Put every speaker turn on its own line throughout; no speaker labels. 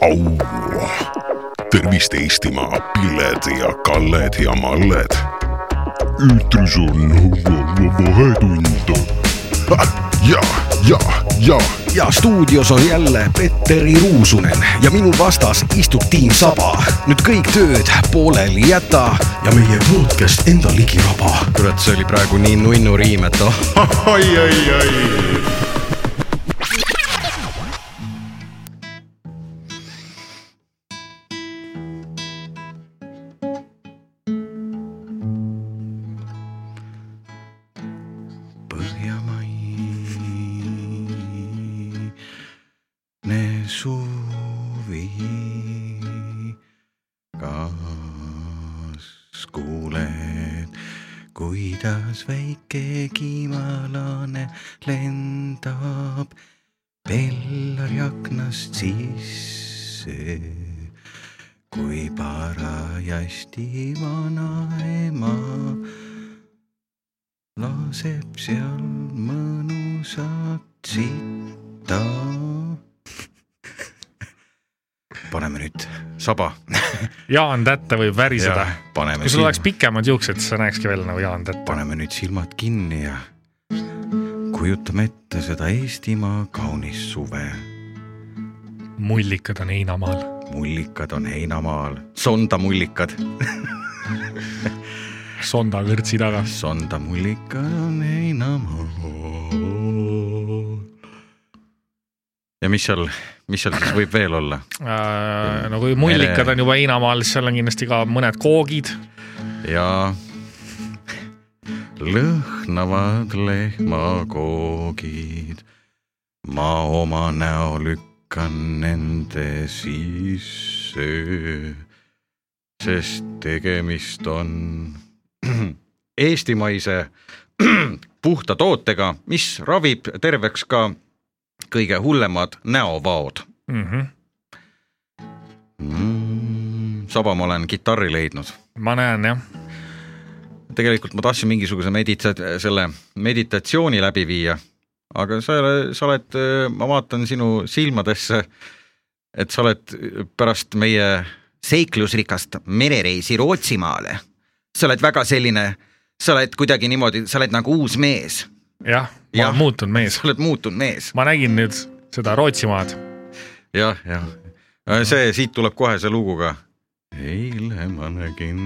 aua . tervist , Eestimaa , Pilled ja Kalled ja Malled . eetris on Vahetund . ja , ja , ja
ja stuudios on jälle Petteri Ruusunen ja minu vastas istub Tiim Saba . nüüd kõik tööd pooleli jäta ja meie podcast enda ligivaba . kurat , see oli praegu nii nunnu riim , et oh .
ai , ai , ai .
põhjamaine suvi . kas kuuled , kuidas väike kimalane lendab Bellari aknast sisse , kui parajasti vanaema laseb seal mõnusat sitta . paneme nüüd saba .
Jaan Tätte võib väriseda .
paneme
kui sul oleks pikemad juuksed , siis sa näekski veel nagu Jaan Tätte .
paneme nüüd silmad kinni ja kujutame ette seda Eestimaa kaunist suve .
mullikad on heinamaal .
mullikad on heinamaal , sonda mullikad ,
sonda kõrtsi taga .
sonda mullikad on heinamaal . ja mis seal , mis seal siis võib veel olla
Äh, no kui mullikad on juba heinamaal , siis seal on kindlasti ka mõned koogid .
ja lõhnavad lehmakoogid . ma oma näo lükkan nende sisse , sest tegemist on eestimaise puhta tootega , mis ravib terveks ka kõige hullemad näovaod
Mhm.
mm, . saba ma olen kitarri leidnud
ma näen jah ,
tegelikult ma tahtsin mingisuguse medita- , selle meditatsiooni läbi viia , aga sa , sa oled , ma vaatan sinu silmadesse , et sa oled pärast meie
seiklusrikast merereisi Rootsimaale . sa oled väga selline , sa oled kuidagi niimoodi , sa oled nagu uus mees ,
jah , ma
Jah.
olen muutunud mees
sa . oled muutunud mees .
ma nägin nüüd seda Rootsimaad .
jah , jah , see siit tuleb kohe see lugu ka . eile ma nägin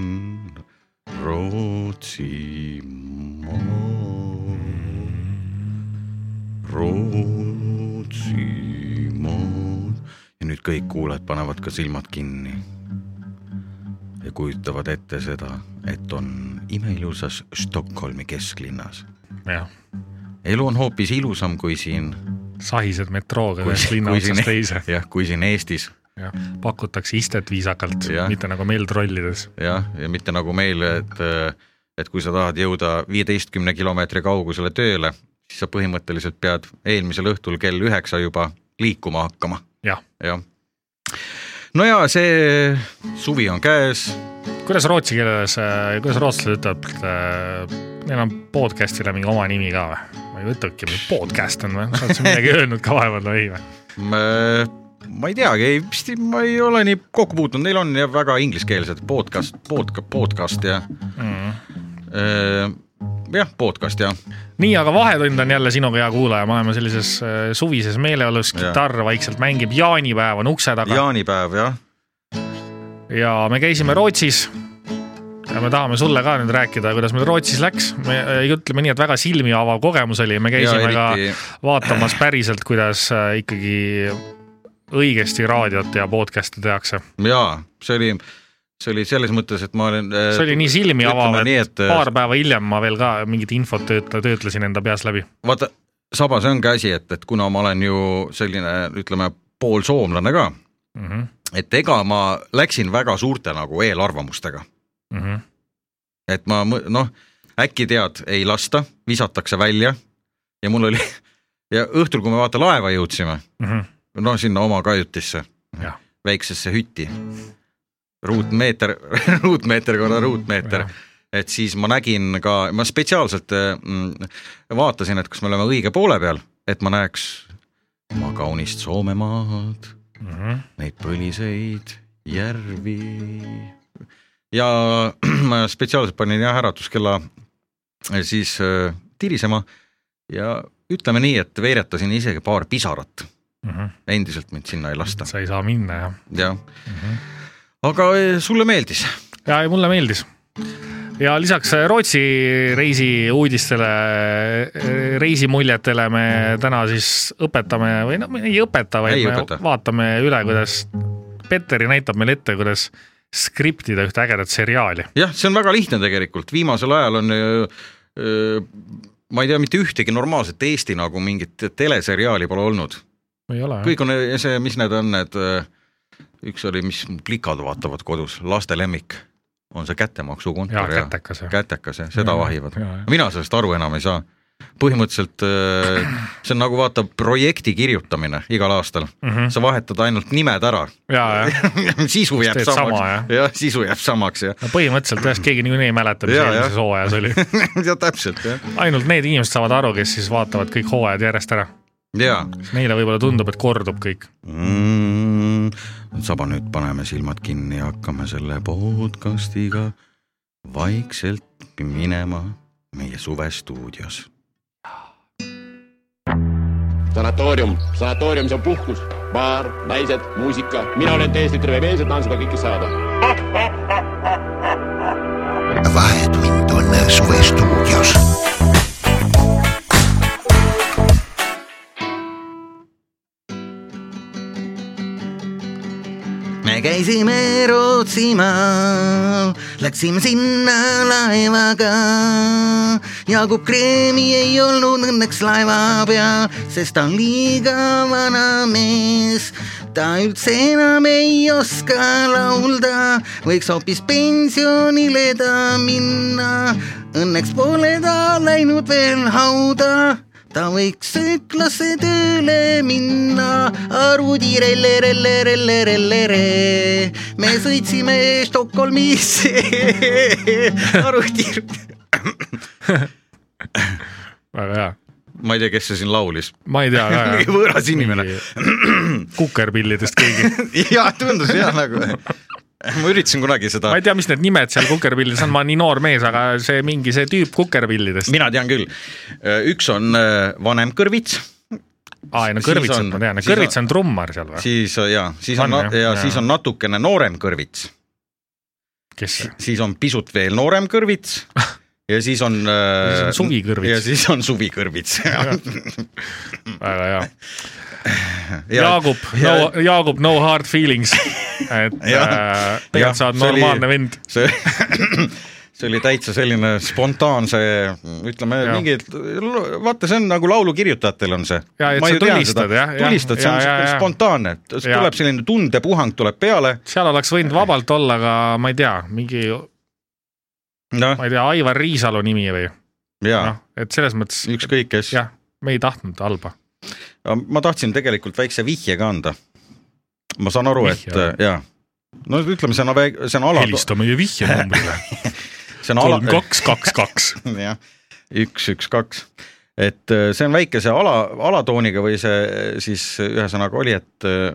Rootsimaal , Rootsimaal ja nüüd kõik kuulajad panevad ka silmad kinni ja kujutavad ette seda , et on imeilusas Stockholmi kesklinnas .
jah ,
elu on hoopis ilusam kui siin ,
sahised metrooga
kui
ühest linna
kui siin
otsast teise .
jah , kui siin Eestis
jah , pakutakse istet viisakalt
Jah. ,
mitte nagu meil trollides .
jah , ja mitte nagu meil , et , et kui sa tahad jõuda viieteistkümne kilomeetri kaugusele tööle , siis sa põhimõtteliselt pead eelmisel õhtul kell üheksa juba liikuma hakkama ,
jah ,
jah . no ja see suvi on käes ,
kuidas rootsi keeles , kuidas rootslased ütlevad , neil on podcast'ile mingi oma nimi ka või ? ma ei ütlegi , podcast on või ? oled sa midagi öelnud ka vahepeal või ei või ?
ma ei teagi , ei vist ei- ma ei ole nii kokku puutunud , neil on jah väga ingliskeelsed podcast , podcast , podcast ja öö, jah , podcast ja
nii , aga Vahetund on jälle sinuga , hea kuulaja , me oleme sellises äh, suvises meeleolus ,
Jah.
kitarr vaikselt mängib , jaanipäev on ukse taga ja,
jaanipäev jah ,
ja me käisime Rootsis . ja me tahame sulle ka nüüd rääkida , kuidas meil Rootsis läks , me äh, ütleme nii , et väga silmi avav kogemus oli , me
ja
käisime ka
eriti
vaatamas päriselt , kuidas äh, ikkagi õigesti raadiot ja podcast'e tehakse .
jaa , see oli , see oli selles mõttes , et ma äh, olen .
see oli nii silmi avav ,
ütleme
et
nii , et
paar päeva hiljem ma veel ka mingit infot tööta- , töötlesin enda peas läbi .
vaata , saba , see ongi asi , et , et kuna ma olen ju selline , ütleme poolsoomlane ka ,
Mm -hmm.
et ega ma läksin väga suurte nagu eelarvamustega ,
mm -hmm.
et ma mõ- noh , äkki tead , ei lasta , visatakse välja ja mul oli ja õhtul , kui me vaata laeva jõudsime ,
mm -hmm.
no sinna oma kajutisse
Jah. ,
väiksesse hütti , ruutmeeter , ruutmeeter korra ruutmeeter
Jah. ,
et siis ma nägin ka , ma spetsiaalselt mm, vaatasin , et kas me oleme õige poole peal , et ma näeks oma kaunist Soomemaad ,
Mm -hmm.
neid põliseid järvi . ja ma spetsiaalselt panin jah äratuskella siis äh, tirisema ja ütleme nii , et veeretasin isegi paar pisarat , endiselt mind sinna ei lasta ,
mhm. sa ei saa minna jah
jah .
mm . -hmm.
aga eh, sulle meeldis ?
ja ei, mulle meeldis . ja lisaks äh, Rootsi reisi uudistele , reisimuljetele me täna siis õpetame või noh , ei õpeta , vaid
Mhm. Ei
me
õpeta.
vaatame üle , kuidas Petteri näitab meile ette , kuidas skriptida ühte ägedat seriaali .
jah , see on väga lihtne tegelikult , viimasel ajal on öö, öö, ma ei tea mitte ühtegi normaalset Eesti nagu mingit teleseriaali pole olnud ,
ei ole jah ?
kõik on öö, see , mis need on , need öö, üks oli , mis mu klikad vaatavad kodus , laste lemmik , on see
jaa ,
kättemaksukontor ja, ja
kätekas jah .
kätekas ja seda
Jaa,
ja, vahivad
jaa, jah. ,
mina sellest aru enam ei saa põhimõtteliselt öö, see on nagu vaata projekti kirjutamine igal aastal ,
Mhm.
sa vahetad ainult nimed ära ,
ja , jah .
sisu jääb
teed sama,
samaks ,
jah.
jah , sisu jääb samaks ja
no põhimõtteliselt jah , keegi niikuinii ei mäleta , mis
Jaa, jah.
eelmises hooajas oli .
ja täpselt jah ,
ainult need inimesed saavad aru , kes siis vaatavad kõik hooajad järjest ära .
jaa
Neile võib-olla tundub , et kordub kõik .
mm, . saba nüüd paneme silmad kinni , hakkame selle podcastiga vaikselt minema meie suvestuudios .
sanatoorium , sanatoorium , see on puhkus , baar , naised , muusika , mina olen täiesti terve mees ja tahan seda kõike saada
Vahetund on suvestuudios .
me käisime Rootsimaal , läksime sinna laevaga . Jaagup Kreemi ei olnud õnneks laeva peal , sest ta on liiga vana mees . ta üldse enam ei oska laulda , võiks hoopis pensionile ta minna . Õnneks pole ta läinud veel hauda ta võiks sööklasse tööle minna , arvuti relle , relle , relle , relle , re . me sõitsime Stockholmisse , arvuti .
väga hea .
ma ei tea , kes see siin laulis ,
ma ei tea ka jah .
võõras inimene .
kukerpillidest keegi .
ja tundus hea nagu , ma üritasin kunagi seda
ma ei tea , mis need nimed seal kukerpillides on , ma olen nii noor mees , aga see mingi see tüüp kukerpillidest .
mina tean küll , üks on äh, vanem kõrvits ,
aa , ei no
siis
kõrvitsat
on-
ma tean ,
siis
kõrvits
on-
on trummar seal või ?
siis äh, ja siis on,
On,
on
jah?
ja
Jaa.
siis on natukene noorem kõrvits ,
kes see ?
siis on pisut veel noorem kõrvits ja siis on .
siis on suvikõrvits.
ja siis on suvikõrvits
väga hea .
mm. Ja-
Jaagup , no
ja- ,
Jaagup , no hard feelings . et
Jah.
äh,
Jah,
tegelikult sa oled
see oli-
normaalne vend .
see see oli täitsa selline spontaanse , ütleme
Jah.
mingi , vaata , see on nagu laulukirjutajatel on see .
Jaa, et sa tulistad, jah, jah.
tulistad , see on
Jaa, jaa,
sihuke
jaa.
spontaanne ,
Jaa.
tuleb selline tundepuhang tuleb peale ,
seal oleks võinud vabalt olla ka , ma ei tea , mingi ,
noh ,
ma ei tea , Aivar Riisalu nimi või
ja
noh , et selles mõttes
ükskõik kes .
jah , me ei tahtnud halba .
ma tahtsin tegelikult väikse vihje ka anda . ma saan aru , et
Vihje või?
jaa , no ütleme , see on , see on ala ,
helista meie vihjenumbrile
see on
kolm ,
ala ,
kaks , kaks , kaks .
jah , üks , üks , kaks . et äh, see on väikese ala , alatooniga või see äh, siis ühesõnaga oli , et äh,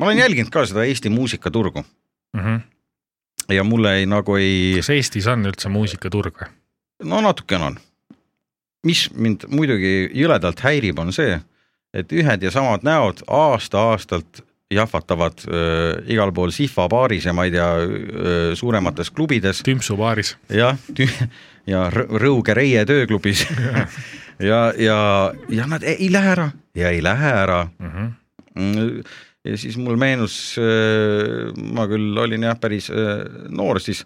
ma olen jälginud ka seda Eesti muusikaturgu ja mulle ei nagu ei ,
Mhm. kas Eestis on üldse muusikaturg või ?
no natukene on . mis mind muidugi jõledalt häirib , on see , et ühed ja samad näod aasta-aastalt jahvatavad öö, igal pool Sihva baaris ja ma ei tea , suuremates klubides
Tümpsu baaris .
jah , ja Rõ- Rõuge Reie tööklubis ja , ja , ja nad ei lähe ära ja ei lähe ära .
Mhm.
ja siis mul meenus , ma küll olin jah , päris äh, noor siis ,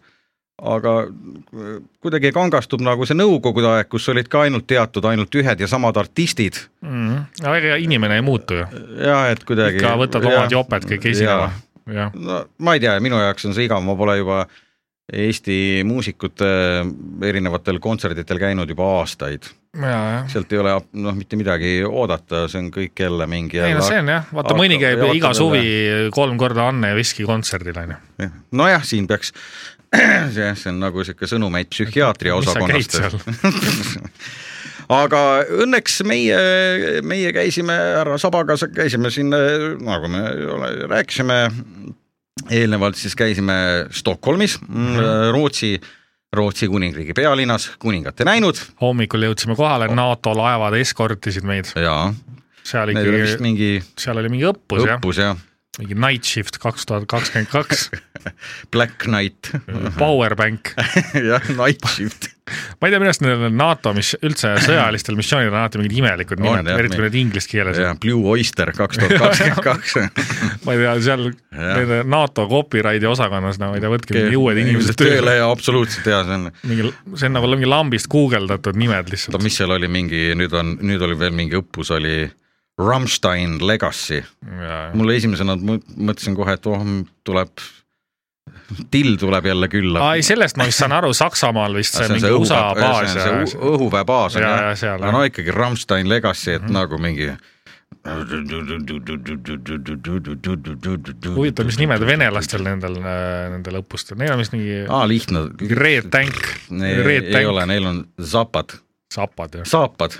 aga äh, kuidagi kangastub nagu see nõukogude aeg , kus olid ka ainult teatud ainult ühed ja samad artistid
Mhm. no ega inimene ei muutu ju ,
ja et kuidagi .
ikka võtad omad joped kõik noh. esinema . jah ,
no ma ei tea , minu jaoks on see igav , ma pole juba Eesti muusikute erinevatel kontserditel käinud juba aastaid ,
ja , jah .
sealt ei ole noh , mitte midagi oodata , see on kõik jälle mingi
ei no see on jah , vaata mõni
aga-
käib
ja
iga
vaata
suvi kolm korda Anne Veski kontserdil onju .
on... . nojah , siin peaks , see , see on nagu sihuke sõnumeid psühhiaatri
mis sa käid
osakonnast .
seal ?
aga õnneks meie , meie käisime härra Sabaga , käisime siin , nagu me ole, rääkisime eelnevalt , siis käisime Stockholmis mm ,
Mhm.
-hmm. Rootsi , Rootsi kuningriigi pealinnas , kuningat ei näinud
hommikul jõudsime kohale , NATO laevad eskortisid meid ,
ja
seal
meil oli vist
ikkagi ,
mingi
seal oli mingi õppus, õppus.
õppus jah ,
jah , mingi night shift kaks tuhat kakskümmend kaks ,
Black Knight
powerbank .
jah , Night Shift .
ma ei tea , millest nendel NATO , mis üldse sõjalistel missioonidel on alati mingid imelikud
On,
nimed ,
jah,
eriti kui need inglise keeles
jah
on .,
Blue Oyster kaks tuhat kakskümmend kaks .
ma ei tea , seal
Jah.
nende NATO copyride'i osakonnas , no ma ei tea , võtke mingi uued inimesed tööle
tööle . ja absoluutselt ja see on ,
mingi , see on nagu mingi lambist guugeldatud nimed
oota ,
lihtsalt .
mis seal oli mingi , nüüd on , nüüd oli veel mingi õppus oli Rammstein Legacy . mulle esimesena mõ- mõtlesin kohe , et oh , tuleb , till tuleb jälle külla
aa . ei , sellest ma vist saan aru , Saksamaal vist
Ah,
see mingi USA baas ja
õhuväe , õhuväe baas on
Ja, ja
jah ,
seal,
aga no
jah. Mhm.
ikkagi Rammstein Legacy , et nagu mingi .
huvitav , mis nimed venelastel nendel , nendel õppustel , neil on vist mingi
aa , lihtne .
Red Tank ,
Ah. ei,
Red
ei ole ,
Tank ,
neil on zapad ,
sapad ja
saapad ,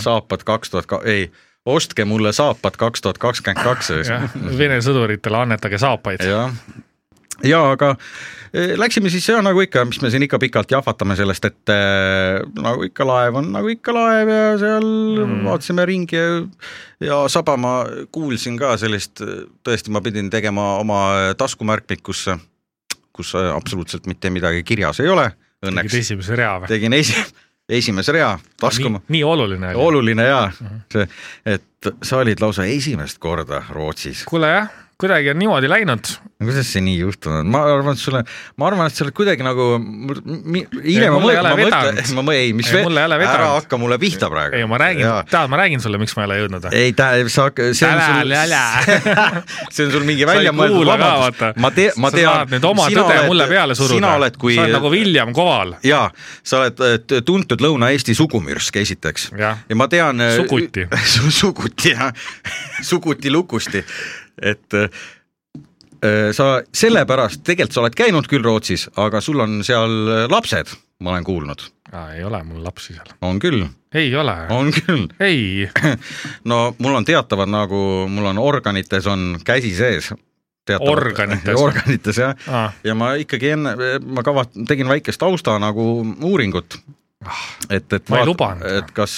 saapad kaks tuhat , ei , ostke mulle saapad kaks tuhat kakskümmend kaks .
jah , Vene sõduritele annetage saapaid .
jah , ja aga eh, läksime siis ja nagu ikka , mis me siin ikka pikalt jahvatame sellest , et eh, nagu ikka laev on nagu ikka laev ja seal mm. vaatasime ringi ja, ja saba ma kuulsin ka sellist , tõesti , ma pidin tegema oma taskumärkmikusse , kus eh, absoluutselt mitte midagi kirjas ei ole ,
tegid
õnneks
esimese rea või ?
tegin esi- , esimese rea taskuma
nii , nii oluline oli .
oluline jaa , see , et sa olid lausa esimest korda Rootsis .
kuule jah , kuidagi on niimoodi läinud .
no kuidas see nii juhtunud on , ma arvan , et sulle , ma arvan , et sa oled kuidagi nagu mul- mi-
Ei,
hiljem ma
mul ei
mõtlen ,
ole
ma mõtlen
vedanud. ,
ma mõtlen , ei , mis
Ei, mul ei ole vedanud.
ära hakka mulle pihta praegu .
ei , ma räägin , tead , ma räägin sulle , miks ma ei ole jõudnud .
ei ta , sa , see on
Ära,
sul
ära. ,
see on sul mingi
Sa ei
välja mõeldud
kuula ka,
vabandus
vaata. .
ma tean , ma
sa tahad
tean
nüüd . oma tõde oled, mulle peale suruda .
sina oled kui
sa oled nagu William Koval .
jaa , sa oled äh, t- tuntud Lõuna-Eesti sugumürsk esiteks .
Jah.
ja ma tean .
Suguti.
Su, suguti jah , suguti lukusti , et äh, sa sellepärast , tegelikult sa oled käinud küll Rootsis , aga sul on seal äh, lapsed , ma olen kuulnud ,
Ah, ei ole mul lapsi seal .
on küll ,
ei ole .
on küll .
ei ,
no mul on teatavad nagu , mul on organites on käsi sees .
Organites.
organites jah
Aa.
ah. , ja ma ikkagi enne , ma kavat- , tegin väikest tausta nagu uuringut . et , et
Ah, Ma ei lubanud.
et kas ,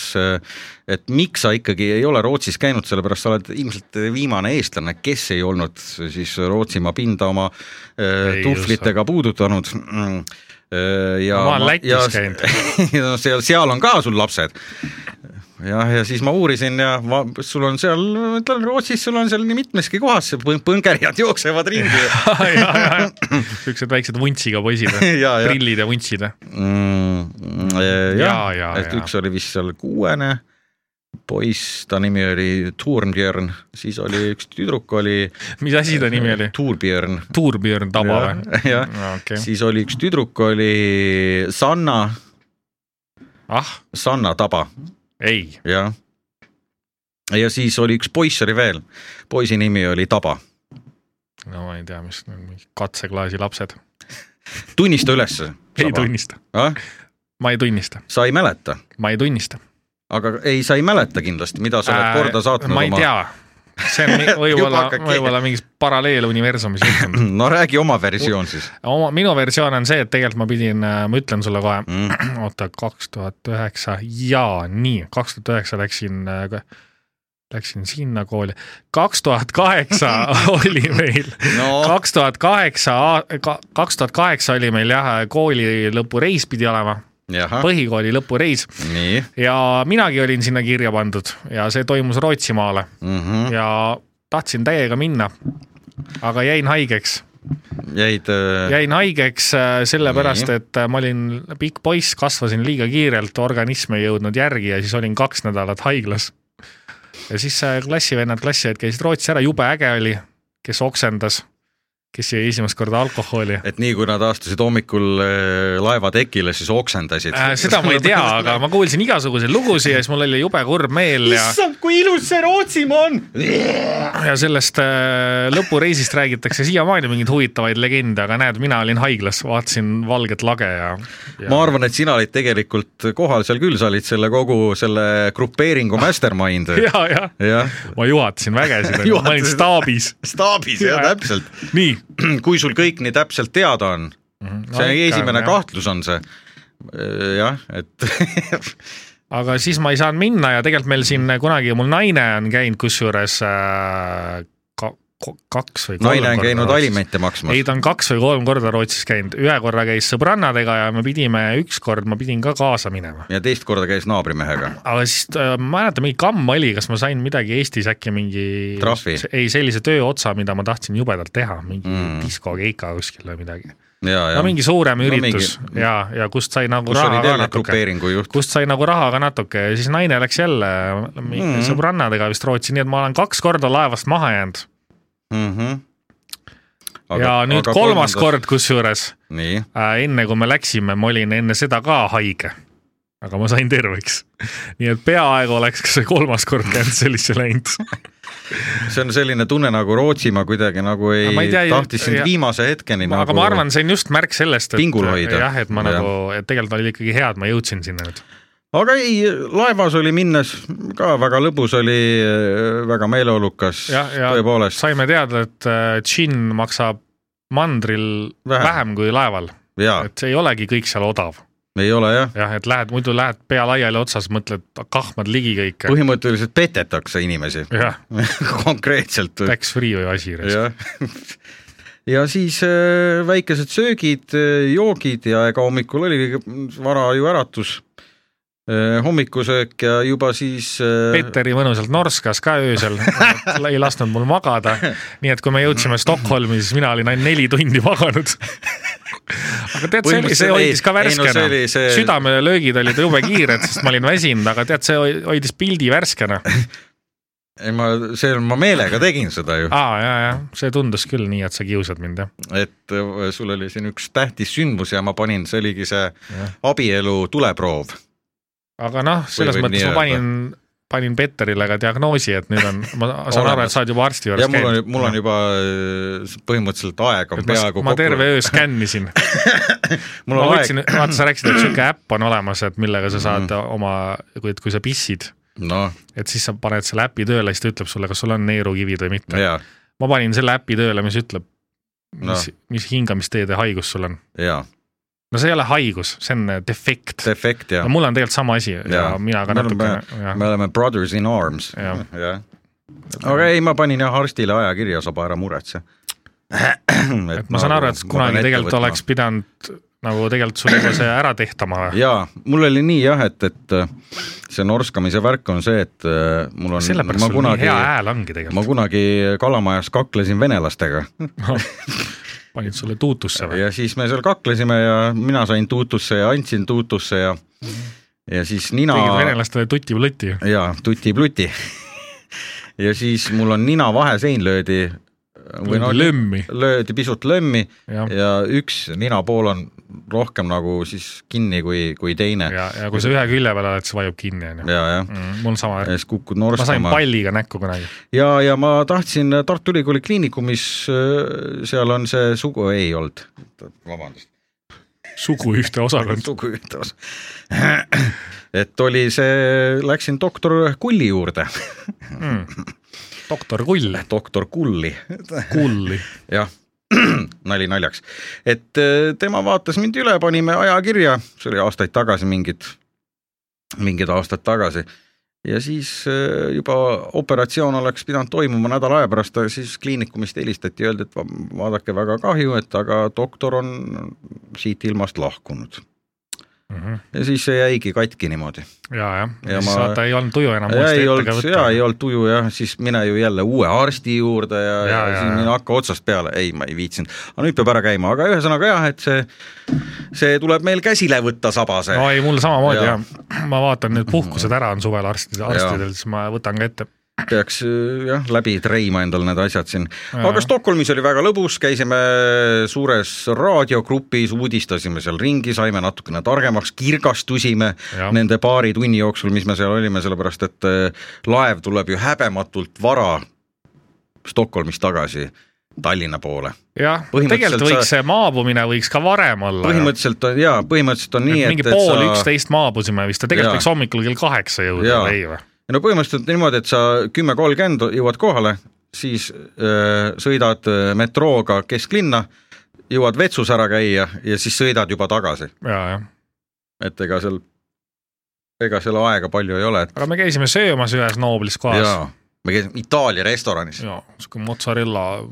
et miks sa ikkagi ei ole Rootsis käinud , sellepärast sa oled ilmselt viimane eestlane , kes ei olnud siis Rootsimaa pinda oma äh,
Ei
tuhvlitega puudutanud . ja
Ma olen Lätis
ja,
käinud.
ja seal , seal on ka sul lapsed jah , ja siis ma uurisin ja ma, sul on seal , ma ütlen Rootsis sul on seal nii mitmeski kohas see põn- põngerjad jooksevad ringi
Ah, siuksed väiksed vuntsiga poisid ,
Ja, ja.
prillid ja vuntsid .
mm, .
Jaa, jaa,
jah , et
jaa.
üks oli vist seal kuuene poiss , ta nimi oli Tuurnbjörn , siis oli üks tüdruk oli
mis asi ta nimi oli ?
Tuurbjörn .
Tuurbjörn Taba või ?
jah ,
okei ,
siis oli üks tüdruk oli Sanna ,
ah ,
Sanna Taba
ei ,
jah . ja siis oli üks poiss oli veel , poisi nimi oli Taba .
no ma ei tea , mis need mingid katseklaasi lapsed .
tunnista ülesse .
ei tunnista ,
ah? .
ma ei tunnista ,
sa ei mäleta ,
ma ei tunnista .
aga ei , sa ei mäleta kindlasti , mida sa oled korda saatnud
Äh, ma ei
oma .
tea , see on mi-
Juba
võib-olla ,
hakkad keegi-
võib-olla mingis paralleeluniversumis juhtunud .
no räägi oma versioon siis
oma , minu versioon on see , et tegelikult ma pidin , ma ütlen sulle kohe
mm. .
mm. , oota , kaks tuhat üheksa ja nii , kaks tuhat üheksa läksin , läksin sinna kooli , kaks tuhat kaheksa oli meil ,
no
kaks tuhat kaheksa , kaks tuhat kaheksa oli meil jah , kooli lõpureis pidi olema ,
jah ,
põhikooli lõpureis
nii
ja minagi olin sinna kirja pandud ja see toimus Rootsimaale
mm , -hmm.
ja tahtsin täiega minna , aga jäin haigeks
jäid äh,
jäin haigeks äh, sellepärast ,
Nii.
et äh, ma olin pikk poiss , kasvasin liiga kiirelt , organism ei jõudnud järgi ja siis olin kaks nädalat haiglas . ja siis äh, klassivennad , klassiõed käisid Rootsis ära , jube äge oli , kes oksendas kes jõi esimest korda alkoholi .
et nii kui nad astusid hommikul äh, laeva tekile , siis oksendasid
Äh, . seda ma ei tea , aga ma kuulsin igasuguseid lugusid ja siis mul oli jube kurb meel ja ,
kui ilus see Rootsimaa on .
ja sellest äh, lõpureisist räägitakse siiamaani mingeid huvitavaid legende , aga näed , mina olin haiglas , vaatasin valget lage ja, ja...
ma arvan , et sina olid tegelikult kohal seal küll , sa olid selle kogu selle grupeeringu mastermind .
ja , ja, ja. ,
jah ,
ma juhatasin vägesid , ma olin
Juhatasid.
staabis .
staabis ja
Jaa.
täpselt .
nii ,
kui sul kõik nii täpselt teada on ,
Mhm. no
see
ikka
esimene
on, jah.
kahtlus on see . jah , et
aga siis ma ei saanud minna ja tegelikult meil siin kunagi mul naine on käinud kusjuures äh, ka, ko- kaks või kolm
naine on
korda
käinud
Rootsis.
alimente maksmas
ei , ta on kaks või kolm korda Rootsis käinud , ühe korra käis sõbrannadega ja me pidime , ükskord ma pidin ka kaasa minema .
ja teist korda käis naabrimehega .
aga siis äh, ma mäletan , mingi kamm oli , kas ma sain midagi Eestis äkki mingi
Trahvi.
ei , sellise töö otsa , mida ma tahtsin jubedalt teha , mingi
Mm.
mm. diskokeika kuskil või midagi .
ja , ja
no mingi suurem
No
üritus no,
mingi-
mingi... ja , ja kust sai nagu
kus
raha
olid
ka
jälle
natuke
grupeeringu juht .
kust sai nagu raha ka natuke ja siis naine läks jälle
Mm.
mm. sõbrannadega vist Rootsi , nii et ma olen kaks korda laevast maha jäänud
Mhm.
aga, ja nüüd kolmas kord kusjuures
nii ,
äh, enne kui me läksime , ma olin enne seda ka haige . aga ma sain terveks . nii et peaaegu oleks ka see kolmas kord cancel'isse läinud .
see on selline tunne nagu Rootsimaa kuidagi nagu ei,
Aga ma ei tea,
tahtis sind
ja-
viimase hetkeni nagu
aga ma arvan , see on just märk sellest , et
Pingul hoida.
jah , et ma
Jah.
ja. nagu , et tegelikult oli ikkagi hea , et ma jõudsin sinna nüüd .
aga ei , laevas oli minnes ka väga lõbus oli , väga meeleolukas ,
jah , ja
tõepoolest
saime teada , et äh, džinn maksab mandril
Vähem. Ah.
vähem, vähem kui laeval ,
ja
et see ei olegi kõik seal odav
ei ole jah ,
jah , et lähed , muidu lähed pea laiali otsas , mõtled , kahmad ligi kõike .
põhimõtteliselt petetakse inimesi
jah ,
konkreetselt .
tax free või asi .
jah . ja siis äh, väikesed söögid , joogid ja ega hommikul oli kõige- vara ju äratus . hommikusöök ja juba siis . äh,
Peteri mõnusalt norskas ka öösel , ei lasknud mul magada . nii et kui me jõudsime Stockholmi , siis mina olin ainult neli tundi maganud . aga tead , see oli , see
Põhimõtteliselt
hoidis
ei-
ka
ei, no
värskena
see oli see- .
südamelöögid olid jube kiired , sest ma olin väsinud , aga tead , see hoi- hoidis pildi värskena .
ei ma , see , ma meelega tegin seda ju ,
aa , ja , ja see tundus küll nii , et sa kiusad mind , jah .
et äh, sul oli siin üks tähtis sündmus ja ma panin , see oligi see abielu tuleproov .
aga noh , selles
võib
mõttes
nii
ma panin , panin Peterile ka diagnoosi , et nüüd on , ma saan aru ,
Olemas.
et sa oled juba arsti
ja
juures
mul on
käinud .,
mul on juba äh, põhimõtteliselt aeg on
et ma,
peaaegu
ma terve . öö skännisin
mul on
ma
aeg Mhm.
võtsin , vaata , sa rääkisid , et sihuke äpp on olemas , et millega sa saad mm. oma , kui , kui sa pissid ,
noh ,
et siis sa paned selle äpi tööle , siis ta ütleb sulle , kas sul on neerukivid või mitte .
ja ,
ma panin selle äpi tööle , mis ütleb ,
No.
mis no. , mis hingamisteede haigus sul on .
ja
no see ei ole haigus , see on äh, defekt .
defekt ja
no . mul on tegelikult sama asi ja, ja mina ka nagu,
me oleme,
natukene ,
me oleme brothers in arms .
Ah. Jah.
jah . aga ei , ma panin jah arstile ajakirja , saba ära muretse .
et ma saan aru , et kunagi tegelikult oleks . pidanud nagu tegelikult sul juba see ära tehtama või ?
jaa , mul oli nii jah , et , et äh, see norskamise värk on see , et äh, mul on ,
sellepärast
ma
sul nii
kunagi
hea , hääl ongi
ma
tegelikult ,
kunagi kalamajas kaklesin venelastega
panid sulle tuutusse või ?
ja siis me seal kaklesime ja mina sain tuutusse ja andsin tuutusse ja , ja siis nina .
tegid venelastele tuti-pluti ,
jaa , tuti-pluti . ja siis mul on nina vahesein löödi .
lömmi ,
löödi pisut lömmi ja,
jah
ja üks ninapool on rohkem nagu siis kinni kui , kui teine ja ,
ja , ja kui sa ühe külje peal oled , siis vajub kinni , onju .
ja, ja. .
mul on sama
ja , siis kukud
ma sain
norstama
palliga näkku kunagi .
ja , ja ma tahtsin Tartu Ülikooli kliinikumis , seal on see sugu , ei olnud , vabandust ,
suguühte osakond .
sugu ütles . et oli see , läksin doktor Kulli juurde ,
Mm. doktor Kull ,
doktor Kulli ,
Kulli .
jah , nali naljaks . et äh, tema vaatas mind üle , panime ajakirja , see oli aastaid tagasi mingid , mingid aastad tagasi . ja siis äh, juba operatsioon oleks pidanud toimuma nädala aja pärast , siis kliinikumist helistati , öeldi , et va- vaadake , väga kahju , et aga doktor on siit ilmast lahkunud . ja siis see jäigi katki niimoodi .
ja , jah ,
Ja
siis
ma-
ma... vaata ei olnud tuju enam
ja ei
uuesti ette
olnud
ka ,
ja ei
võtta .
olnud tuju jah , siis mine ju jälle uue arsti juurde ja, ja,
Ja,
ja
ja,
siis
ja.
mine hakka otsast peale , ei , ma ei viitsinud . aga nüüd peab ära käima , aga ühesõnaga jah , et see , see tuleb meil käsile võtta saba see
no
no, .
ei , mul samamoodi
Ja.
jah , ma vaatan need puhkused ära on suvel arstidel , arstidel , siis ma võtan ka ette .
peaks äh, jah , läbi treima endal need asjad siin . aga Stockholmis oli väga lõbus , käisime suures raadiogrupis , uudistasime seal ringi , saime natukene targemaks , kirgastusime
Jah.
ja. nende paari tunni jooksul , mis me seal olime , sellepärast et äh, laev tuleb ju häbematult vara Stockholmist tagasi Tallinna poole .
jah ,
põhimõtteliselt
tegelikult võiks
sa-
see maabumine võiks ka varem olla .
põhimõtteliselt on jaa , põhimõtteliselt on nii ,
nii,
et
mingi
et
pool
sa-
üksteist maabusime vist , tegelikult
Jaa.
võiks hommikul kell kaheksa jõuda
Jaa.
või ei või ?
ei no põhimõtteliselt niimoodi , et sa kümme kolmkümmend jõuad kohale , siis öö, sõidad öö, metrooga kesklinna , jõuad vetsus ära käia ja siis sõidad juba tagasi ,
ja , jah .
et ega seal , ega seal aega palju ei ole , et
aga me käisime söömas ühes nooblis kohas .
jaa , me käisime Itaalia restoranis .
jaa , sihuke mozzarella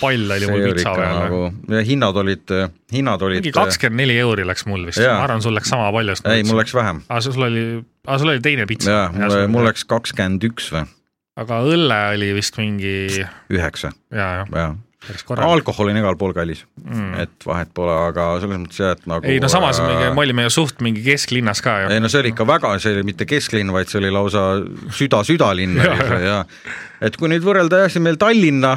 pall oli mul pitsa peal nagu... .
nagu , hinnad olid , hinnad olid
mingi , kakskümmend neli euri läks mul vist ,
Jaa.
ma arvan , sul läks sama palju .
ei mul . läks vähem ,
aga sul oli , aga sul oli teine pitsa .
jaa , mul , mul . läks kakskümmend üks või
aga õlle oli vist mingi ,
üheksa ,
jaa , jah ,
jaa .
päris korralik .
alkohol on igal pool kallis mm. , et vahet pole , aga selles mõttes jah , et nagu
ei no samas
äh,
mingi , me olime ju suht mingi kesklinnas ka ju
ei . no see oli ikka väga , see oli mitte kesklinn , vaid see oli lausa süda-südalinn oli see ja et kui nüüd võrrelda jah , siin meil Tallinna ,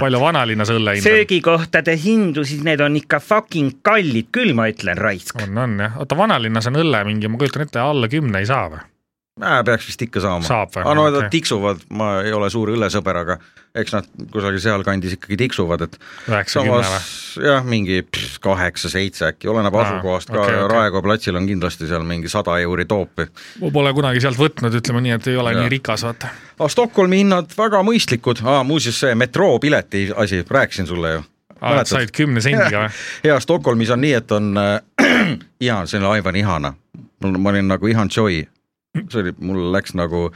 palju vanalinnas õlle hind
söögikohtade hindu , siis need on ikka fucking kallid küll , ma ütlen , raisk .
on ? on , on jah , oota vanalinnas on õlle mingi , ma kujutan ette , alla kümne ei saa või ?
peaks vist ikka saama .
saab või ?
aga no nad tiksuvad , ma ei ole suur õllesõber , aga eks nad kusagil sealkandis ikkagi tiksuvad , et
üheksa , kümme või
samas ? jah , mingi pff, kaheksa-seitse äkki , oleneb
Aa,
asukohast ka
okei,
okay, ,
okei.
okay. Raekoja platsil on kindlasti seal mingi sada euri toopi
ma pole kunagi sealt võtnud , ütleme nii , et ei ole ja.
Jaa.
nii rikas , vaata .
aga Ah, Stockholmi hinnad väga mõistlikud , muuseas see metroopileti asi , rääkisin sulle ju .
et said kümne sendiga või ?
ja Stockholmis on nii , et on äh, ihan , see on aivan ihana . mul , ma olin nagu ihan joy . see oli , mul läks nagu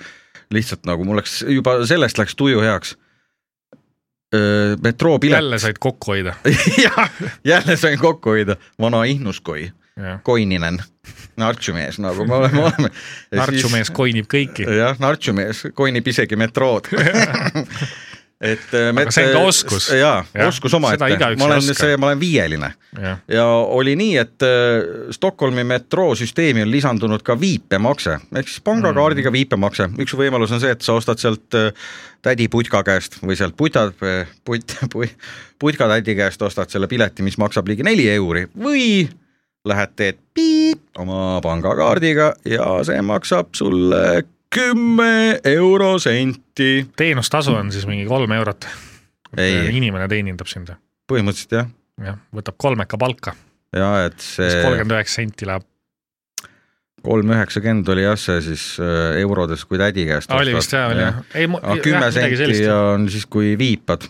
lihtsalt nagu mul läks juba sellest läks tuju heaks . metroopilet ,
jälle said kokku hoida .
jah , jälle sain kokku hoida , vana ihnuskoi , koininen , nartsumees nagu me oleme , oleme .
nartsumees koinib kõiki .
jah , nartsumees koinib isegi metrood . et äh, met...
see on ka oskus.
jaa
Jah,
ja, , oskus
seda
omaette
igaüks ,
ma
ei
olen
oska.
see , ma olen viieline
jah ,
ja oli nii , et äh, Stockholmi metroosüsteemi on lisandunud ka viipemakse , ehk siis pangakaardiga viipemakse , üks võimalus on see , et sa ostad sealt äh, tädi putka käest või sealt puta , put- , putka tädi käest ostad selle pileti , mis maksab ligi neli euri või lähed teed piip oma pangakaardiga ja see maksab sulle kümme eurosenti .
teenustasu on siis mingi kolm eurot .
Ei.
inimene teenindab sind ,
põhimõtteliselt jah ,
jah , võtab kolmeka palka ,
ja et
siis
see
kolmkümmend üheksa senti läheb .
kolm üheksakümmend oli jah , see siis äh, eurodes , kui tädi käest
Ah, oli vist jah , oli jah . ei ,
aga Ah, kümme senti ja . on siis , kui viipad .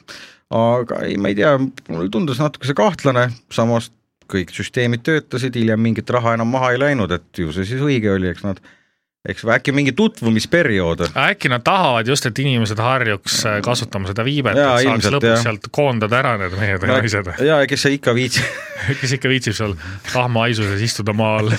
aga ei , ma ei tea , mulle tundus natukese kahtlane , samas kõik süsteemid töötasid , hiljem mingit raha enam maha ei läinud , et ju see siis õige oli , eks nad , eks või äkki mingi tutvumisperiood .
Ah, äkki nad tahavad just , et inimesed harjuks äh, kasutama seda viibet ,
Jaa,
et saaks
ilmselt,
lõpuks
jah.
sealt koondada ära need mehed ja naised .
ja kes see ikka viitsib ,
kes ikka viitsib seal tahmaaisu sees istuda maa all .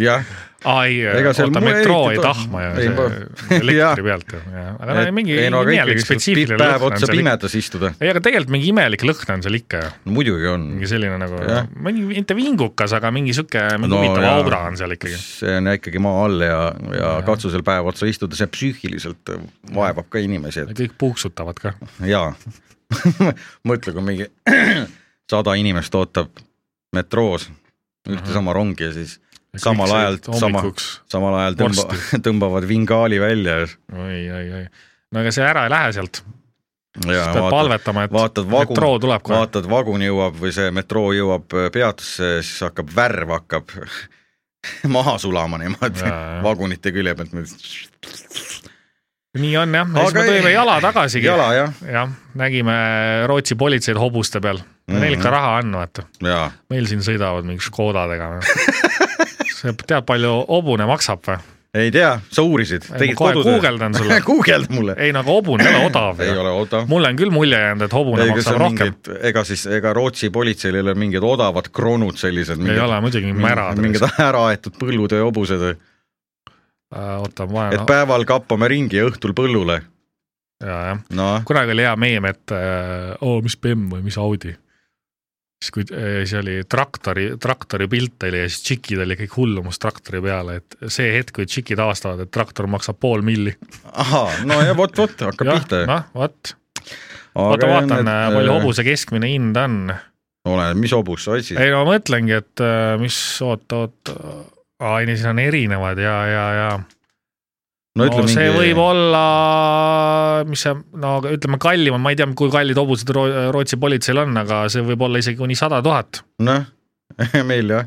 jah ,
aa ei ,
Ega seal
oota
muu
metroo
eriti
ei
ta-
tahma ju ,
ei
see
ma- Jah.
elektri pealt ju , aga no mingi
ei no aga
imelik
ikkagi
spetsiifiline
saab
lõhn
päev
on
otsa
seal ikka .
pimedas istuda ,
ei , aga tegelikult mingi imelik lõhn on seal ikka ju ,
muidugi on
mingi selline nagu
Jah. ,
mingi mitte vingukas , aga mingi sihuke , mingi
No
huvitav
jaa.
aura on seal ikkagi .
see on jah ikkagi maa all ja , ja katsu seal päev otsa istuda , see psüühiliselt vaevab ka inimesi , et
kõik puuksutavad ka .
jaa , mõtle , kui mingi sada inimest ootab metroos ühte sama rongi ja siis samal ajal , sama , samal ajal tõmba, tõmbavad vingaali välja ja-
oi , oi , oi , no ega see ära ei lähe sealt ,
ja
peab
vaatad ,
palvetama , et
vaatad vagun-
metroo tuleb kohe .
vaatad , vagun jõuab või see metroo jõuab äh, peatusse , siis hakkab värv hakkab maha sulama niimoodi
Jaa, jah.
vagunite külje pealt .
nii on jah , siis
Aga
me
ei-
tõime jala tagasigi .
jala jah ,
jah , nägime Rootsi politseid hobuste peal mm , -hmm. neil
Mhm.
ikka raha on , vaata .
jaa ,
meil siin sõidavad mingi Škodadega . sa tead , palju hobune maksab või ?
ei tea , sa uurisid ,
ma
tegid
kohe
kodutöö .
guugeldan sulle .
guugelda mulle .
ei no aga hobune ei ole odav
ei
ju .
ole odav .
mulle on küll mulje jäänud , et hobune
ei ,
ei,
kas
maksab
seal
rohkem .
mingid , ega siis , ega Rootsi politseil ei ole mingid odavad kronud sellised ?
ei ole muidugi märad .
mingid äraaetud põllutöö hobused või ?
Äh, oota , ma
et
vajan ,
päeval kappame ringi ja õhtul põllule .
jajah .
noh ,
kunagi oli hea meem , et äh, oo , mis BMW või mis Audi . siis kui eh, see oli traktori , traktori pilt oli ja siis tšikid oli kõik hullumus traktori peale , et see hetk , kui tšikid avastavad , et traktor maksab pool milli .
ahaa , no ja vot-vot hakkab pihta ju .
noh , vot , oota vaatan , palju . hobuse keskmine hind on .
oleneb , äh, mis hobust sa otsid .
ei no ma mõtlengi , et eh, mis , oota , oota , aa ei , siin on erinevad ja , ja , ja
no ütle mingi .
see võib . olla , mis see , no aga ütleme kallim on , ma ei tea , kui kallid hobused Ro Rootsi politseil on , aga see võib olla isegi kuni sada tuhat .
noh , meil jah ,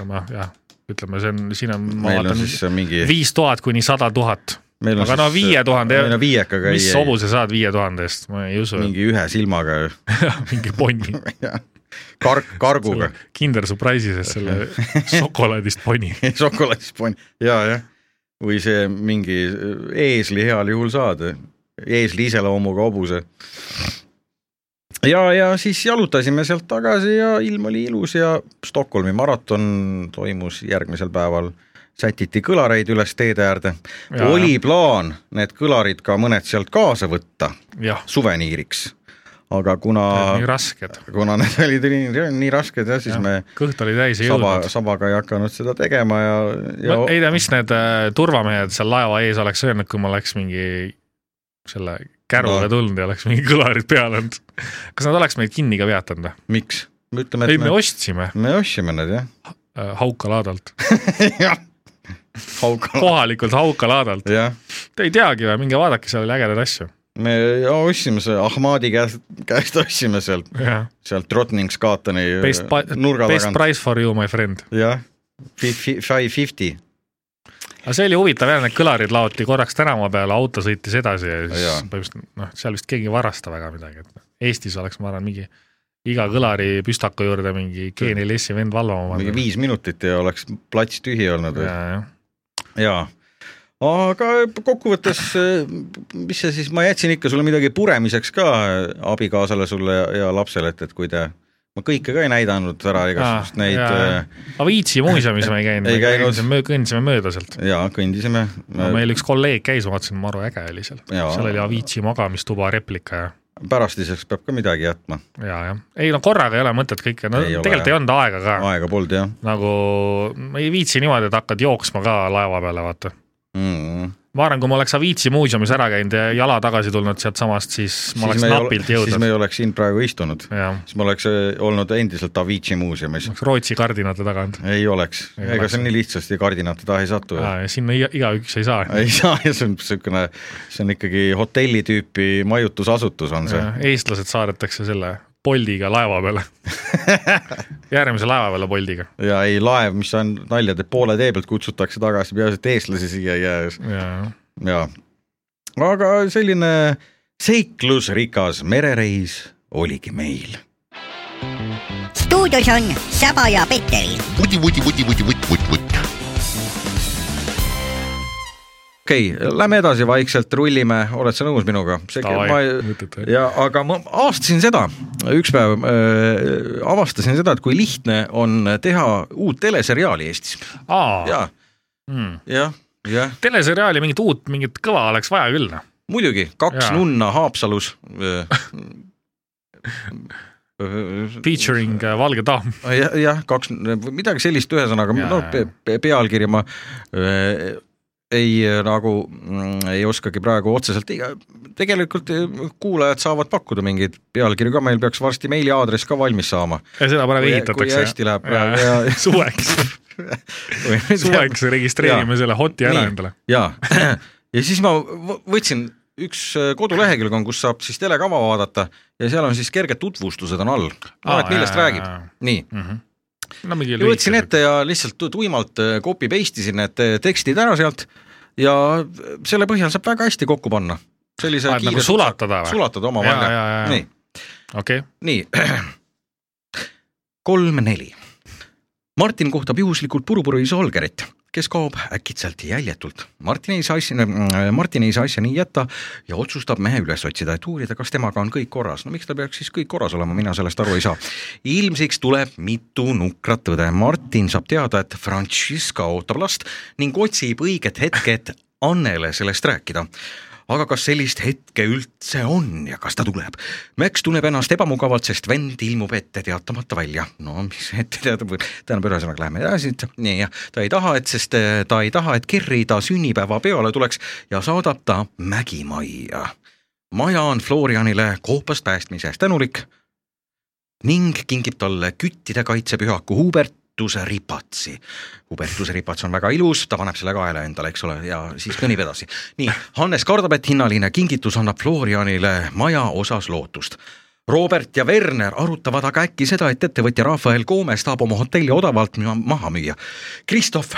noh jah , ütleme , see on , siin on , ma
meil on
vaatan ,
siis äh, mingi .
viis tuhat kuni sada tuhat .
meil on
aga no
siis- äh,
viie tuhande ,
meil on viiekaga
mis
ei ,
hobuse saad viie tuhande eest , ma ei usu ,
mingi ühe silmaga ju ,
mingi ponni .
karg , karguga ,
Kinder Surprise'i sees selle šokolaadist ponni .
šokolaadispann ja , jah . või see mingi äh, eesli heal juhul saad , eesli iseloomuga hobuse . ja , ja siis jalutasime sealt tagasi ja ilm oli ilus ja Stockholmi maraton toimus järgmisel päeval sätiti kõlareid üles teede äärde , oli . plaan need kõlarid ka mõned sealt kaasa võtta
jah ,
suveniiriks , aga kuna
nii rasked .
kuna need olid nii, nii rasked jah , siis ja. me
kõht oli täis , ei
saba ,
jõudnud .
sabaga ei hakanud seda tegema ja , ja
ma ei tea , mis need äh, turvamehed seal laeva ees oleks öelnud , kui ma oleks mingi selle käruga
No.
no. tulnud ja oleks mingi kõlarid peal olnud . kas nad oleks meid kinni ka peatanud või ?
miks ? me ütleme ,
ei ,
et
me
me,
ostsime
me ostsime need jah
äh, Hauka laadalt ,
jah , haukala ,
kohalikult Hauka laadalt .
jah ,
Te ei teagi või , minge vaadake , seal oli ägedaid asju .
me ostsime selle Ahmadi käest , käest ostsime sealt , sealt Rotningskatani
Best pa-
nurga
Best
tagant ,
price for you , my friend .
jah , five fifty
aga see oli huvitav jah , need kõlarid laoti korraks tänava peale , auto sõitis edasi ja siis
Jaa.
põhimõtteliselt noh , seal vist keegi ei varasta väga midagi , et Eestis oleks , ma arvan , mingi iga kõlari püstaku juurde mingi G4S-i vend valvama
mingi
pandud .
viis minutit ja oleks plats tühi olnud või ?
jajah .
jaa , aga kokkuvõttes , mis see siis , ma jätsin ikka sulle midagi puremiseks ka äh, abikaasale sulle ja, ja lapsele , et , et kui te , ma kõike ka ei näidanud ära , igasugust äh,
Aa,
neid
jaa, jaa.
ja,
aga Viitsi muuseumis me ei käinud ,
Ei
me
käinud.
käinud. kõndisime mööda sealt .
ja kõndisime
no, .
meil...
meil üks kolleeg käis , ma vaatasin , maru äge oli seal .
Jaa.
seal oli Avicii magamistuba replika ja ,
pärastiseks peab ka midagi jätma ,
ja , jah . ei no korraga ei ole mõtet kõike , no
Ei ole,
tegelikult
jah.
ei olnud aega ka .
aega polnud jah
nagu ma ei viitsi niimoodi , et hakkad jooksma ka laeva peale , vaata .
mm. .
ma arvan , kui ma oleks Avicii muuseumis ära käinud ja jala tagasi tulnud sealtsamast , siis ma oleks napilt
siis me
jõudnud .
ei oleks siin praegu istunud ,
jah ,
siis ma oleks äh, olnud endiselt Avicii muuseumis .
oleks Rootsi kardinate taga olnud .
ei oleks , ega
Ei oleks. Ah.
see nii lihtsasti kardinate taha ei satu .
sinna iga- igaüks ei saa .
ei saa ja see on niisugune , see on ikkagi hotelli tüüpi majutusasutus on see .
eestlased saadetakse selle Boldiga laeva peale . järgmise laeva peale Boldiga .
ja ei laev , mis on nalja teeb , poole tee pealt kutsutakse tagasi , peaasi , et eestlasi siia ei jää
jaa ,
ja aga selline seiklusrikas merereis oligi meil .
stuudios on Saba ja Peteril .
vuti , vuti , vuti , vuti , vutt , vutt , vutt .
okei okay, , lähme edasi vaikselt , rullime , oled sa nõus minuga ? ja aga ma avastasin seda , üks päev äh, avastasin seda , et kui lihtne on teha uut teleseriaali Eestis .
aa ,
ja , jah , jah ,
teleseriaali mingit uut , mingit kõva oleks vaja küll , noh .
muidugi kaks
Jaa.
ja. nunna Haapsalus .
Featuring äh, Valge Tamm .
jah , jah , kaks , midagi sellist , ühesõnaga
Jaa,
ja, no
jaa.
pe- pe- pealkiri ma äh, ei äh, nagu mm, ei oskagi praegu otseselt , tegelikult äh, kuulajad saavad pakkuda mingeid pealkirju ka , meil peaks varsti meiliaadress ka valmis saama .
ja seda praegu
Kui-
ehitatakse .
kui hästi läheb praegu, jaa.
suveks , suveks registreerime selle hoti ära
Nii.
endale .
jaa , ja siis ma võ- võtsin üks äh, kodulehekülg on , kus saab siis telekava vaadata ja seal on siis kerged tutvustused on all , et millest räägib , nii
no mingi
ja võtsin . ette ja lihtsalt tu- tuimalt äh, copy paste isin need äh, tekstid ära sealt ja äh, selle põhjal saab väga hästi kokku panna . sellise
nagu sulatada või ?
sulatada omavahel ,
või
nii ,?
okei ,
nii kolm , neli . Martin kohtab juhuslikult purupuruisa Olgerit , kes kaob äkitselt jäljetult . Martin ei saa asja , Martin ei saa asja nii jätta ja otsustab mehe üles otsida , et uurida , kas temaga on kõik korras . no miks tal peaks siis kõik korras olema , mina sellest aru ei saa . ilmsiks tuleb mitu nukrat tõde . Martin saab teada , et Francisca ootab last ning otsib õiget hetke , et Annele sellest rääkida aga kas sellist hetke üldse on ja kas ta tuleb? Max tunneb ennast ebamugavalt , sest vend ilmub ette teatamata välja . no mis ette teatab , tähendab , ühesõnaga läheme edasi , nii ja ta ei taha , et , sest äh, ta ei taha , et Kerri ta sünnipäeva peale tuleks ja saadab ta mägimajja . maja on Florianile koopast päästmise eest tänulik ning kingib talle küttide kaitsepühaku Hubertuse ripatsi . Hubertuse ripats on väga ilus , ta paneb selle kaela endale , eks ole , ja siis kõnnib edasi . nii , Hannes kardab , et hinnaline kingitus annab Florianile maja osas lootust . Robert ja Werner arutavad aga äkki seda , et ettevõtja Rafael Koomes tahab oma hotelli odavalt müüa- maha müüa . Kristof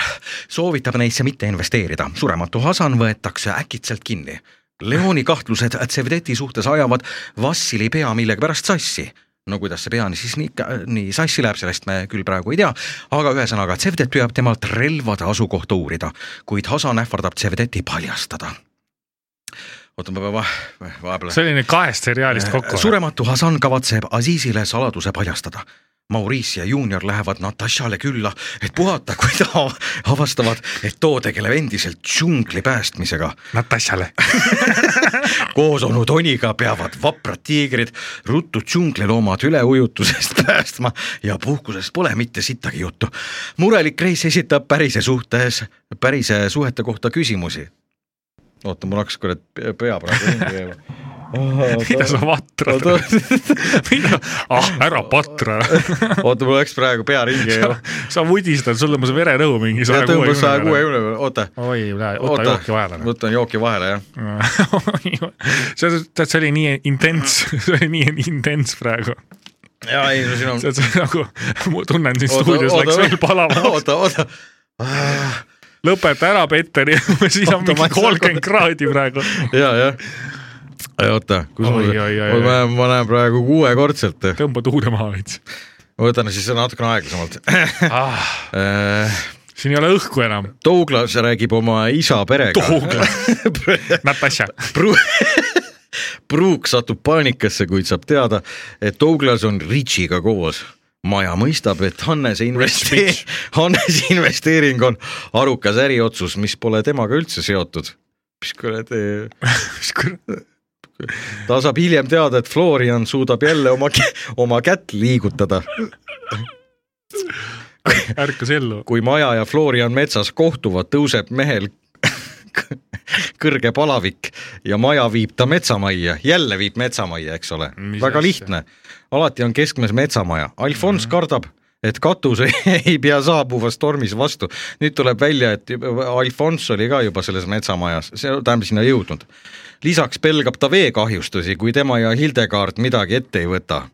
soovitab neisse mitte investeerida , surematu Hasan võetakse äkitselt kinni . Leoni kahtlused Cevdeti suhtes ajavad Vassili pea millegipärast sassi no kuidas see peani siis nii , nii sassi läheb , sellest me küll praegu ei tea , aga ühesõnaga Cevdet püüab temalt relvade asukohta uurida , kuid Hasan ähvardab Cevdeti paljastada . oota , ma pean va- , vahepeal
see oli nüüd kahest seriaalist
Äh,
kokku .
surematu Hasan kavatseb Azizile saladuse paljastada . Maurice ja juunior lähevad Natasjale külla , et puhata , kui ta av- avastavad , et too tegeleb endiselt džungli päästmisega
Natasjale .
koos onu Toniga peavad vaprad tiigrid ruttu džungliloomad üleujutusest päästma ja puhkusest pole mitte sittagi juttu . murelik Kreis esitab pärise suhtes , pärise suhete kohta küsimusi . oota , mul hakkas kurat pe- pea praegu ringi käima . Äh,
mida sa vatrad ? mida , ah ära patra .
oota , mul läks praegu pea ringi käima .
sa vudistad , sul tõmbas vererõhu mingi
ja
saja
tõmbas saja kuuekümne
kuuekümne .
peale , oota .
oi , võta jooki vahele . noh.
võtan jooki vahele , jah .
see , tead , see oli nii intens , see oli nii intens praegu .
jaa , ei no siin on .
see , see nagu , ma tunnen siin stuudios läks veel palavamaks .
oota , oota .
lõpeta ära , Peeter , siis on
Oota, ma
mingi
ei saa-
kolmkümmend kraadi praegu .
ja , jah . oota , kus mul
Oi, , oi, oi,
ma
oi.
näen , ma näen praegu kuuekordselt
tõmba tuude maha veits
ma võtan siis natukene aeglasemalt .
ah, . siin ei ole õhku enam .
Douglas räägib oma isa perega .
Natasha ,
Pruuk satub paanikasse , kuid saab teada , et Douglas on Richiga koos . maja mõistab , et Hannese investee- , Hannese investeering on arukas äriotsus , mis pole temaga üldse seotud . mis kuradi ,
mis kuradi ,
ta saab hiljem teada , et Florian suudab jälle oma , oma kätt liigutada
ärkas ellu .
kui Maja ja Florian metsas kohtuvad , tõuseb mehel kõrge palavik ja Maja viib ta metsamajja , jälle viib metsamajja , eks ole ,
Mis
väga
asja? Mhm.
lihtne . alati on keskmes metsamaja , Alfons mm -hmm. kardab , et katus ei pea saabuvas tormis vastu . nüüd tuleb välja , et juba- Alfons oli ka juba selles metsamajas , see tähendab sinna jõudnud . lisaks pelgab ta veekahjustusi , kui tema ja Hildegard midagi ette ei võta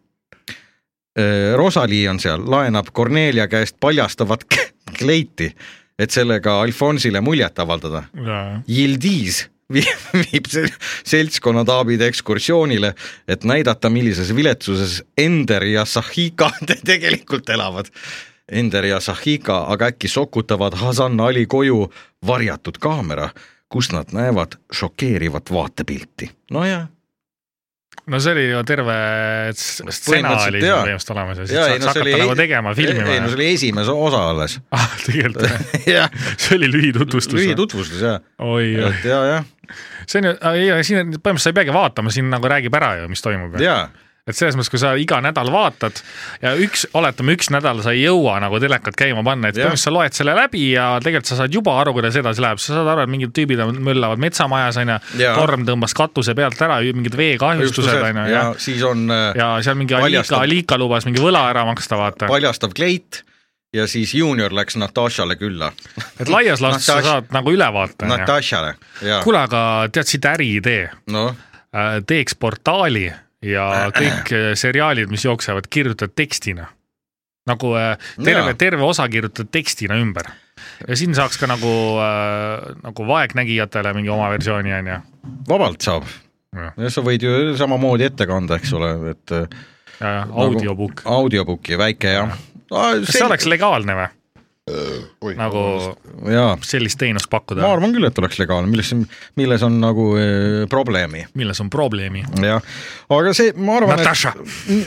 Äh, Rosalii on seal , laenab Cornelia käest paljastavat k- kleiti , et sellega Alfonsile muljet avaldada . Yildiz viib, viib se- seltskonna daamid ekskursioonile , et näidata , millises viletsuses Ender ja Sahika te- tegelikult elavad . Ender ja Sahika aga äkki sokutavad Hasan Ali koju varjatud kaamera , kus nad näevad šokeerivat vaatepilti . nojah ,
no see oli ju terve s- stsena
Põhimõtteliselt
oli
jaa.
põhimõtteliselt olemas ja
Jaa,
siis
ei, no
saaks
see oli-
hakata nagu tegema filmi
ei no see
või ?
oli esimese osa alles .
ah , tegelikult jah ,
jah ,
see oli lühitutvustus .
lühitutvustus jah
oi ,
et ja , jah ,
see on ju , ei , siin on- põhimõtteliselt sa ei peagi vaatama , siin nagu räägib ära ju , mis toimub .
ja
et selles mõttes , kui sa iga nädal vaatad ja üks , oletame , üks nädal sa ei jõua nagu telekat käima panna , et
Jah.
põhimõtteliselt sa loed selle läbi ja tegelikult sa saad juba aru , kuidas edasi läheb , sa saad aru , et mingid tüübid on- möllavad metsamajas onju ,
Jaa.
torm tõmbas katuse pealt ära , mingid veekahjustused
ja,
onju
ja
ja,
siis on äh,
ja seal mingi Alika ,
Paljastab.
Alika lubas mingi võla ära maksta , vaata .
paljastav kleit ja siis juunior läks Natasjale külla ,
et laias laastus sa
Natasha-
saad nagu ülevaate onju .
Natasjale ja
kuule , aga tead siit äriidee ,
noh ,
Äh, teeks portaali ja kõik äh, seriaalid , mis jooksevad , kirjutad tekstina . nagu äh, terve
Jaa. ,
terve osa kirjutad tekstina ümber . ja siin saaks ka nagu äh, , nagu vaegnägijatele mingi oma versiooni onju .
vabalt saab
Jah. .
sa võid ju samamoodi ette kanda , eks ole , et äh,
audiobook .
audiobooki väike ja, ja. .
kas see oleks legaalne või ? nagu
jaa ,
sellist teenust
Äh, ma
pakkuda ,
arvan küll , et oleks legaalne , milles , milles on nagu äh, probleemi
milles on probleemi ?
jah , aga see , ma arvan ,
Natasha ,
et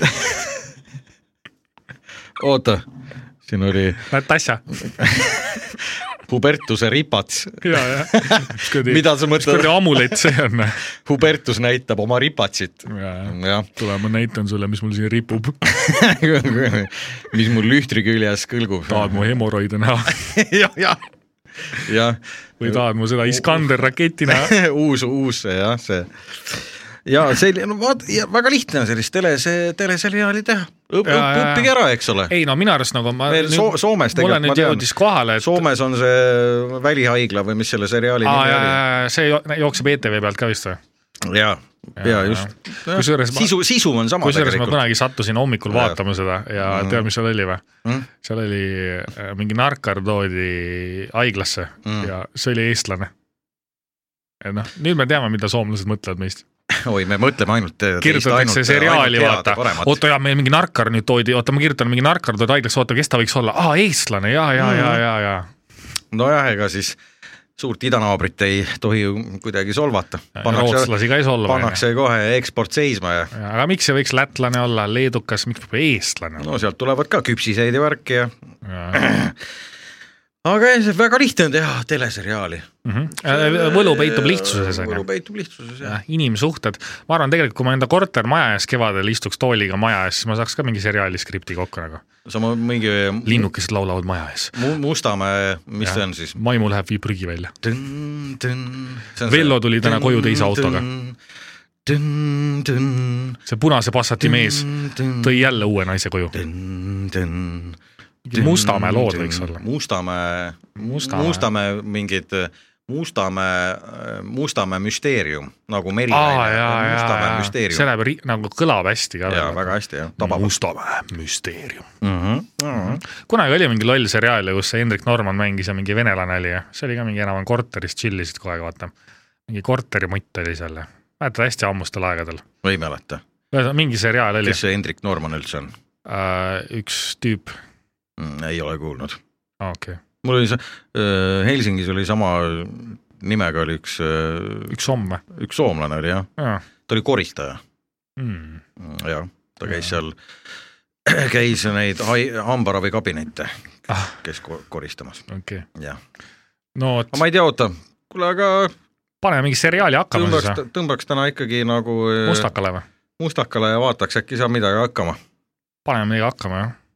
oota , siin oli
Natasha ,
Hubertuse ripats ,
ja , ja .
Mida sa mõtled?
kuradi amulett see on ?
Hubertus näitab oma ripatsit , jah .
tule , ma näitan sulle , mis mul siin ripub .
mis mul lühtri küljes kõlgub .
tahad mu hemoroide näha
jah , jah , jah
või tahad mu seda Iskander raketi näha ?
uus , uus see jah , see . ja see , no vaata , väga lihtne on sellist tele , see teleseriaali teha Õp, .
Jaa, jaa, jaa.
õppige ära , eks ole .
ei no minu arust nagu ma
Meil so Soomes
mulle
tegelikult , ma
nüüd
tean ,
jõudis kohale , et Soome...
Soomes on see välihaigla või mis selle seriaali nimi oli .
see jo- jookseb ETV pealt ka vist või ?
ja , ja just .
Kusjuures ma-
sisu , sisu on sama
kusjuures ma
tegelikult .
kunagi sattusin hommikul
Jaa.
vaatama seda ja mm. tead , mis seal oli või
Hm?
mm. ? seal oli äh, mingi narkar toodi haiglasse mm. ja see oli eestlane . et noh , nüüd me teame , mida soomlased mõtlevad meist .
oi , me mõtleme ainult .
kirjutatakse seriaali , vaata , oota jaa , meil mingi narkar nüüd toodi , oota , ma kirjutan mingi narkar toodi haiglasse , oota , kes ta võiks olla , aa , eestlane ja , ja , ja ,
Mhm.
ja , ja .
nojah , ega siis suurt idanaabrit ei tohi ju kuidagi solvata .
rootslasi ka ei solva .
pannakse kohe eksport seisma ja
aga miks see võiks lätlane olla , leedukas , miks peab eestlane olla
no sealt tulevad ka küpsiseid ja värki ja
no. ?
aga jah, see väga lihtne on teha teleseriaali .
Äh, võlu peitub lihtsuses ,
võlu
onju .
peitub lihtsuses jah .
inimsuhted , ma arvan , tegelikult kui ma enda kortermaja ees kevadel istuks tooliga maja ees , siis ma saaks ka mingi seriaali skripti kokku nagu .
sama mingi
linnukesed laulavad maja ees .
mu- Mustamäe , mis ja. see on siis ?
maimu läheb , viib prügi välja . Vello
Vello
tuli täna koju teise autoga. . see punase passati mees
Mm.
tõi jälle uue naise koju . Mustamäe lood võiks olla.
Mustamäe ,
Mustamäe.
Mustamäe, Mustamäe mingid , Mustamäe , Mustamäe müsteerium nagu
aa ,
Merilaine
jaa ,
on
jaa ,
Mustamäe
jaa , see
müsteerium .
läheb ri- nagu kõlab hästi ka .
jaa , väga hästi jah , Mhm. tabab .
Mustamäe müsteerium . kunagi oli mingi loll seriaal , kus see Hendrik Norman mängis ja mingi venelane oli ja see oli ka mingi enam-vähem korteris , tšillisid kogu aeg , vaata . mingi korterimutt oli seal ja mäletad hästi ammustel aegadel .
ma ei mäleta ,
ühesõnaga mingi seriaal oli Äh,
kes , see Hendrik Norman üldse on
üks tüüp ,
mm, ? ei ole kuulnud .
okei okay. ,
mul oli see , Helsingis oli sama nimega oli üks ,
üks homme
üks soomlane oli jah ,
ah. .
ta oli koristaja ,
Mm.
jah , ta käis seal , käis neid hai- hambaravikabinette ,
Ah.
käis ko- koristamas ,
okei okay. ,
jah .
no vot
aga , ma ei tea , oota , kuule aga
paneme mingi seriaali hakkama siis
tõmbaks
või ?,
tõmbaks täna ikkagi nagu
Mustakale või ?
mustakale ja vaataks , äkki saab midagi hakkama .
paneme midagi hakkama jah .